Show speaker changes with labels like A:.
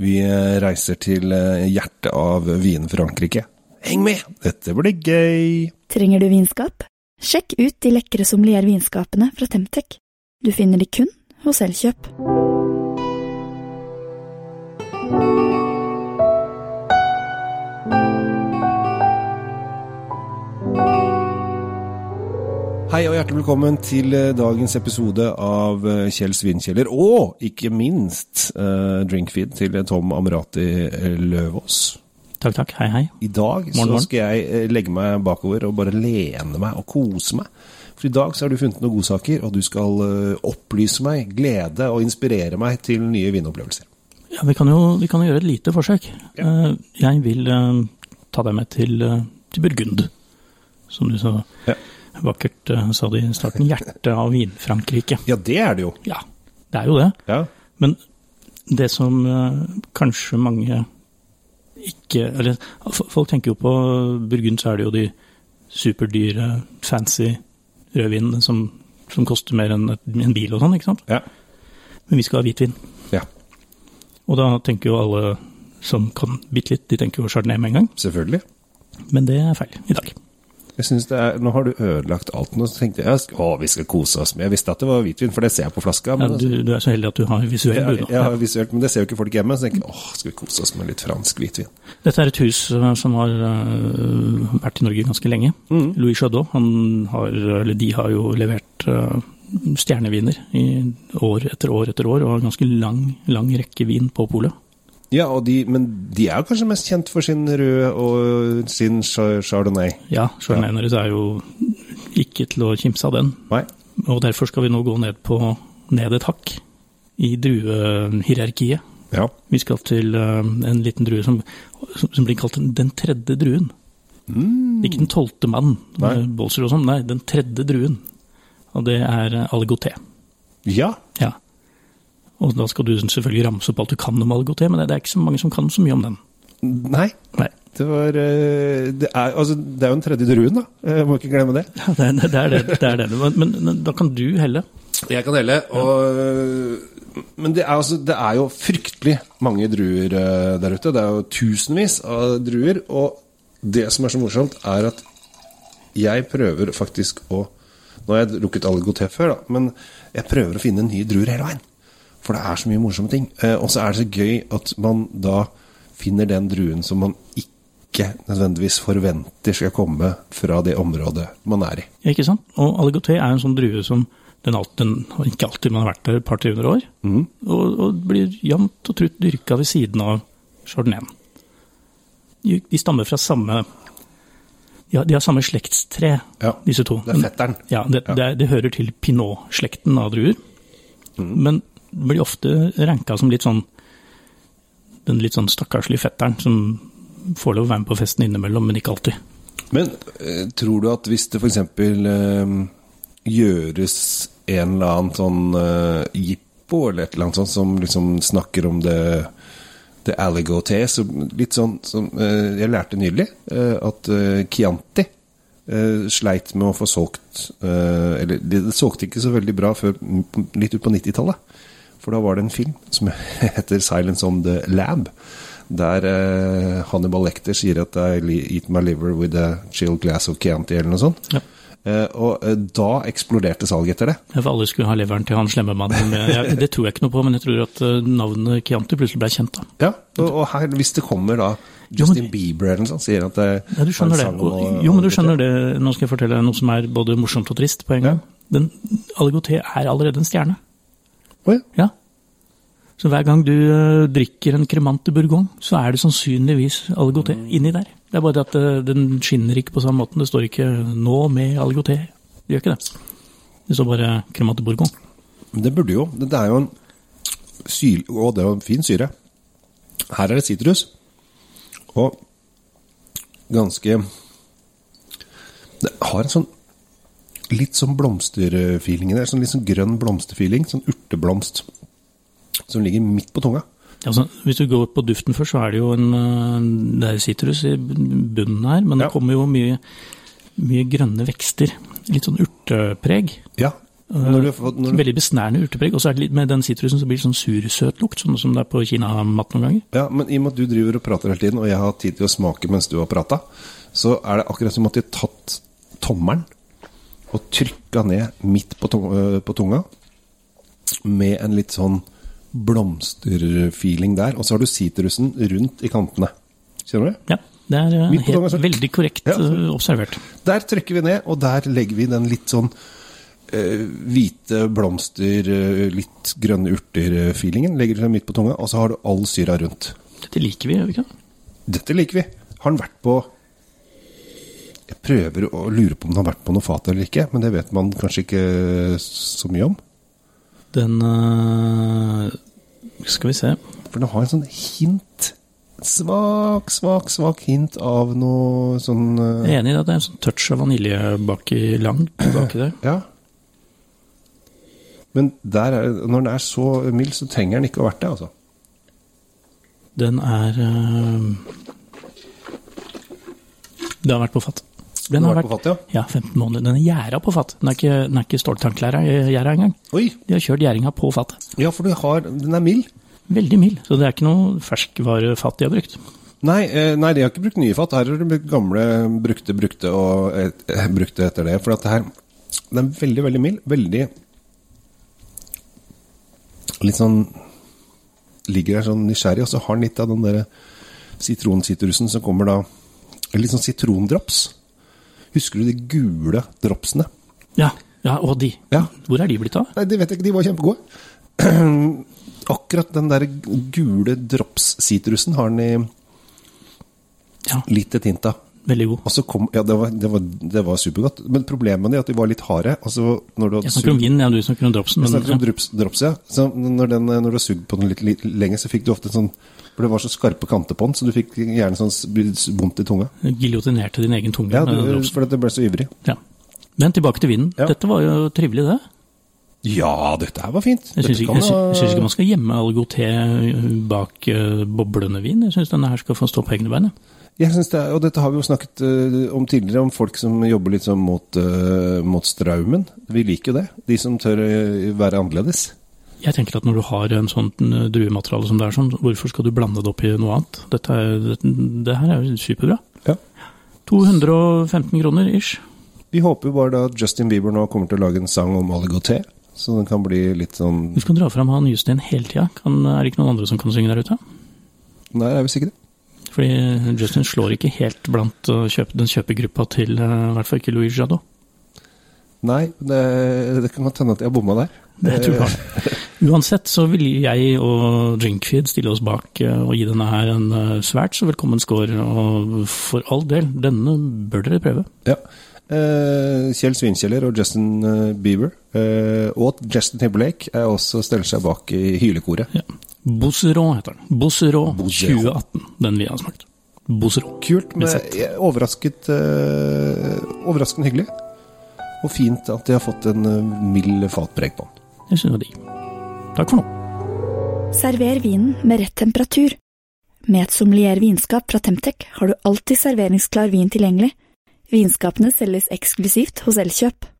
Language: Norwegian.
A: Vi eh, reiser til eh, hjertet av Wien-Frankrike. Heng med! Dette blir gøy!
B: Trenger du vinskap? Sjekk ut de lekre sommelier vinskapene fra Temtec. Du finner de kun hos Elkjøp.
A: Hei og hjertelig velkommen til eh, dagens episode av eh, Kjell Svinkjeller, og ikke minst eh, drinkfeed til eh, Tom Amrati eh, Løvaas.
C: Takk, takk. Hei, hei.
A: I dag så
C: Morgen, morgen.
A: skal jeg eh, legge meg bakover og bare lene meg og kose meg. For i dag så har du funnet noen godsaker, og du skal eh, opplyse meg, glede og inspirere meg til nye vinopplevelser.
C: Ja, vi kan jo, vi kan jo gjøre et lite forsøk. Eh, Jeg vil eh, ta deg med til, eh, til Burgund, som du så
A: Ja.
C: vakkert eh, sa det i starten. Hjertet av Vin-Frankrike.
A: Ja, det er det jo.
C: Ja, det er jo det.
A: Ja.
C: Men det som eh, kanskje mange ikke Eller f- folk tenker jo på Burgund, så er det jo de superdyre, fancy rødvinene som, som koster mer enn et- en bil og sånn, ikke sant?
A: Ja.
C: Men vi skal ha hvitvin.
A: ja.
C: Og da tenker jo alle som kan bitte litt, de tenker jo Chardonnay med en gang.
A: Selvfølgelig.
C: Men det er feil i dag.
A: Jeg synes det er, Nå har du ødelagt alt nå, så tenkte jeg "Sk- å, vi skal kose oss med Jeg visste at det var hvitvin, for det ser jeg på flaska.
C: Ja,
A: Men, altså,
C: du, du er så heldig at du har visuell
A: ja,
C: bue. nå.
A: ja, visuelt, men det ser jo ikke folk hjemme. Så tenker jeg åh, skal vi kose oss med litt fransk hvitvin?
C: Dette er et hus eh, som har eh, vært i Norge ganske lenge. Louis Chaudot, han har, eller de har jo levert eh, stjerneviner i år etter år etter år, og har ganske lang, lang rekke vin på polet.
A: Ja, og de, Men de er jo kanskje mest kjent for sin røde og sin cha- chardonnay.
C: Ja, Chardonnay deres er jo ikke til å kimse av den.
A: Nei?
C: Og derfor skal vi nå gå ned, på, ned et hakk i druehierarkiet.
A: Ja.
C: Vi skal til eh, en liten drue som, som som blir kalt den tredje druen. Ikke den tolvte mann,
A: Nei.
C: med Bolser og sånn, nei, den tredje druen. Og det er eh, aligoté.
A: ja.
C: Ja. Og da skal du selvfølgelig ramse opp alt du kan om aligoté, men det det er ikke så mange som kan så mye om den.
A: Nei.
C: Nei,
A: Det var eh, Det er, altså, det er jo en tredje druen, da. Jeg må ikke glemme det.
C: Ja, det, det, det er det. det, er det. Men, men, men da kan du helle.
A: Jeg kan helle. Og, men det er, altså, det er jo fryktelig mange druer eh, der ute. Det er jo tusenvis av druer. Og det som er så morsomt, er at jeg prøver faktisk å Nå har jeg drukket Aligoté før, da, men jeg prøver å finne nye druer hele veien. For det er så mye morsomme ting. Eh, og så er det så gøy at man da finner den druen som man ikke nødvendigvis forventer skal komme fra det området man er i.
C: Ja, ikke sant? Og aligoté er en sånn drue som den, alt, den har ikke alltid man har vært der et par 300 år,
A: Mm.
C: og, og blir jevnt og trutt dyrka ved siden av chardonnayen. De, de stammer fra samme de har, de har samme slektstre,
A: Ja,
C: disse to.
A: det er fetteren.
C: Ja, det,
A: Ja.
C: Det, er- det hører til pinot-slekten av druer.
A: Mm.
C: Men blir ofte ranka som litt sånn den litt sånn stakkarslige fetteren som får lov å være med på festen innimellom, men ikke alltid.
A: Men eh, tror du at hvis det f.eks. Eh, gjøres en eller annen sånn eh, jippo eller et eller annet sånt som liksom snakker om det det Aligoté, så litt sånn som eh, jeg lærte nylig, eh, at eh, Chianti eh, sleit med å få solgt eh, Eller det det solgte ikke så veldig bra før m- litt ut på 90-tallet. For da var det en film som heter 'Silence on the Lab', der eh, Hannibal Lecter sier at 'I li- eat my liver with a chilled glass of Chianti', eller noe sånt.
C: Ja.
A: Eh, og eh, da eksploderte salget etter det.
C: Ja, For alle skulle ha leveren til han slemme mannen. Men Jeg, det tror jeg ikke noe på, men jeg tror at eh, navnet Chianti plutselig ble kjent. da.
A: Ja, og, og her, hvis det kommer da
C: Jo, men-
A: Justin Bieber eller noe sånt, sier at eh, det
C: Ja, du skjønner det. Og- Jo, men du skjønner det. Nå skal jeg fortelle deg noe som er både morsomt og trist på en gang. Den Aligoté er allerede en stjerne.
A: Å ja.
C: Ja. Så hver gang du eh, drikker en kremant i Bourgogne, så er det sannsynligvis Aligoté inni der. Det er bare det at eh, den skinner ikke på samme måten. Det står ikke 'nå med Aligoté'. Det gjør ikke det. Det står bare 'kremant i Bourgogne'.
A: Men det burde jo. Det er jo en syl... Å, det er jo en fin syre. Her er det sitrus. Og ganske Det har en sånn litt sånn blomsterfeeling i det. Sånn litt sånn grønn blomsterfeeling. Sånn urteblomst som ligger midt på tunga.
C: Ja, Altså, hvis du går på duften først, så er det jo en øh, Det er sitrus i bunnen her, men
A: Ja.
C: det kommer jo mye, mye grønne vekster. Litt sånn urtepreg.
A: Ja, Når du har fått, når du,
C: Veldig besnærende urtepreg. Og så er det litt med den sitrusen så blir det sånn sursøt lukt, sånn som det er på kinamat noen ganger.
A: ja, men i og med at du driver og prater hele tiden, og jeg har tid til å smake mens du har prata, så er det akkurat som at de har tatt tommelen og trykka ned midt på, tung- øh, på tunga med en litt sånn blomsterfeeling der. Og så har du sitrusen rundt i kantene. Kjenner du?
C: Ja, det er eh,
A: Midt på
C: helt,
A: dagen, så-
C: veldig korrekt
A: Ja.
C: eh, observert.
A: Der trykker vi ned, og der legger vi den litt sånn eh, hvite blomster, eh, litt grønne urter-feelingen. Legger den midt på tunga, og så har du all syra rundt.
C: Dette liker vi, gjør vi ikke?
A: Dette liker vi. Har den vært på Jeg prøver å lure på om den har vært på noe fat eller ikke, men det vet man kanskje ikke så mye om.
C: Den eh, Skal vi se.
A: For den har en sånn hint Svak, svak, svak hint av noe sånn eh,
C: Jeg er enig i det. Det er en sånn touch av vanilje baki langt baki der.
A: Ja. Men der er, når den er så mild, så trenger den ikke å ha vært det, altså.
C: Den er eh, Det har vært på fatt. Den,
A: har
C: har
A: vært
C: vært,
A: på fatt,
C: ja. 15 måneder. Den er gjerda på fatt. Den er ikke, den er ikke ståltankgjerda engang.
A: Oi!
C: De har kjørt gjæringa på fattet.
A: Ja, for du har Den er mild.
C: Veldig mild, så det er ikke noe ferskvarefatt de har brukt.
A: Nei, eh, nei, de har ikke brukt nye fat. Her har de brukt gamle, brukte, brukte og eh, eh, brukte etter det. For at det her den er veldig, veldig mild. Veldig Litt sånn Ligger der sånn nysgjerrig, og så har den litt av den derre sitronsitrusen som kommer da Litt sånn sitrondrops. Husker du de gule dropsene?
C: Ja, ja og de.
A: Ja.
C: Hvor er de blitt av?
A: Nei, det vet jeg ikke. De var kjempegode. Akkurat den der gule drops-sitrusen har den i
C: Ja,
A: litt et hint av.
C: veldig god.
A: Og så kom, ja, det var, det, var, det var supergodt. Men problemet med det er at de var litt harde. Og så når du hadde
C: Jeg snakker om
A: sugd-
C: vinen, ja, du snakker om dropsen.
A: Jeg snakker om
C: Men,
A: drops, drops, ja. Så når, den, når du har sugd på den litt, litt lenger, så fikk du ofte en sånn For det var så skarpe kanter på den, så du fikk gjerne sånn s- vondt i tunga.
C: ja, giljotinerte din egen tunge
A: Ja,
C: med den
A: du,
C: dropsen.
A: for at det ble så ivrig.
C: Ja. Men tilbake til vinen.
A: Ja.
C: Dette var jo trivelig, det.
A: Ja, dette her var fint.
C: Jeg syns
A: Dette
C: ikke,
A: kan
C: jeg
A: ha-
C: syns- syns ikke man skal gjemme all god te bak eh, boblende vin. Jeg syns denne her skal få stå på egne bein. jeg.
A: Jeg synes det er, og dette har vi jo snakket eh, om tidligere, om folk som jobber litt sånn mot, eh, mot straumen. Vi liker jo det. De som tør eh, være annerledes.
C: Jeg tenker at når du har en sånn eh, druemateriale som det er sånn, hvorfor skal du blande det opp i noe annet? Dette er, det, det her er jo superbra.
A: Ja.
C: 215 kroner ish.
A: Vi håper jo bare da at Justin Bieber nå kommer til å lage en sang om oligoté, så den kan bli litt sånn
C: Du skal dra fram han Justin hele tida. Kan- Er det ikke noen andre som kan synge der ute?
A: Nei, det er visst ikke det.
C: Fordi Justin slår ikke helt blant eh, kjøp, den kjøpegruppa til eh, i hvert fall ikke Louis Jadot.
A: Nei, det, det kan godt hende at jeg bomma der.
C: Det tror jeg. Eh, Uansett så vil jeg og Drinkfeed stille oss bak eh, og gi denne her en eh, svært så velkommen score. Og for all del, denne bør dere prøve.
A: Ja. Eh, Kjell Svinkjeller og Justin eh, Bieber, eh, og Justin Timberlake, er også stiller seg bak i hylekoret.
C: Ja. Bosserå heter den. Bosserå
A: Bosserå.
C: 2018. Den vi har smakt. Bosserå.
A: Kult, men
C: Uansett.
A: jeg er overrasket eh, Overraskende hyggelig. Og fint at de har fått en eh, mild fatpreg på den.
C: Jeg syns det var digg. Takk for nå.
B: Server vinen med rett temperatur. Med et sommelier vinskap fra Temtec har du alltid serveringsklar vin tilgjengelig. Vinskapene selges eksklusivt hos Elkjøp.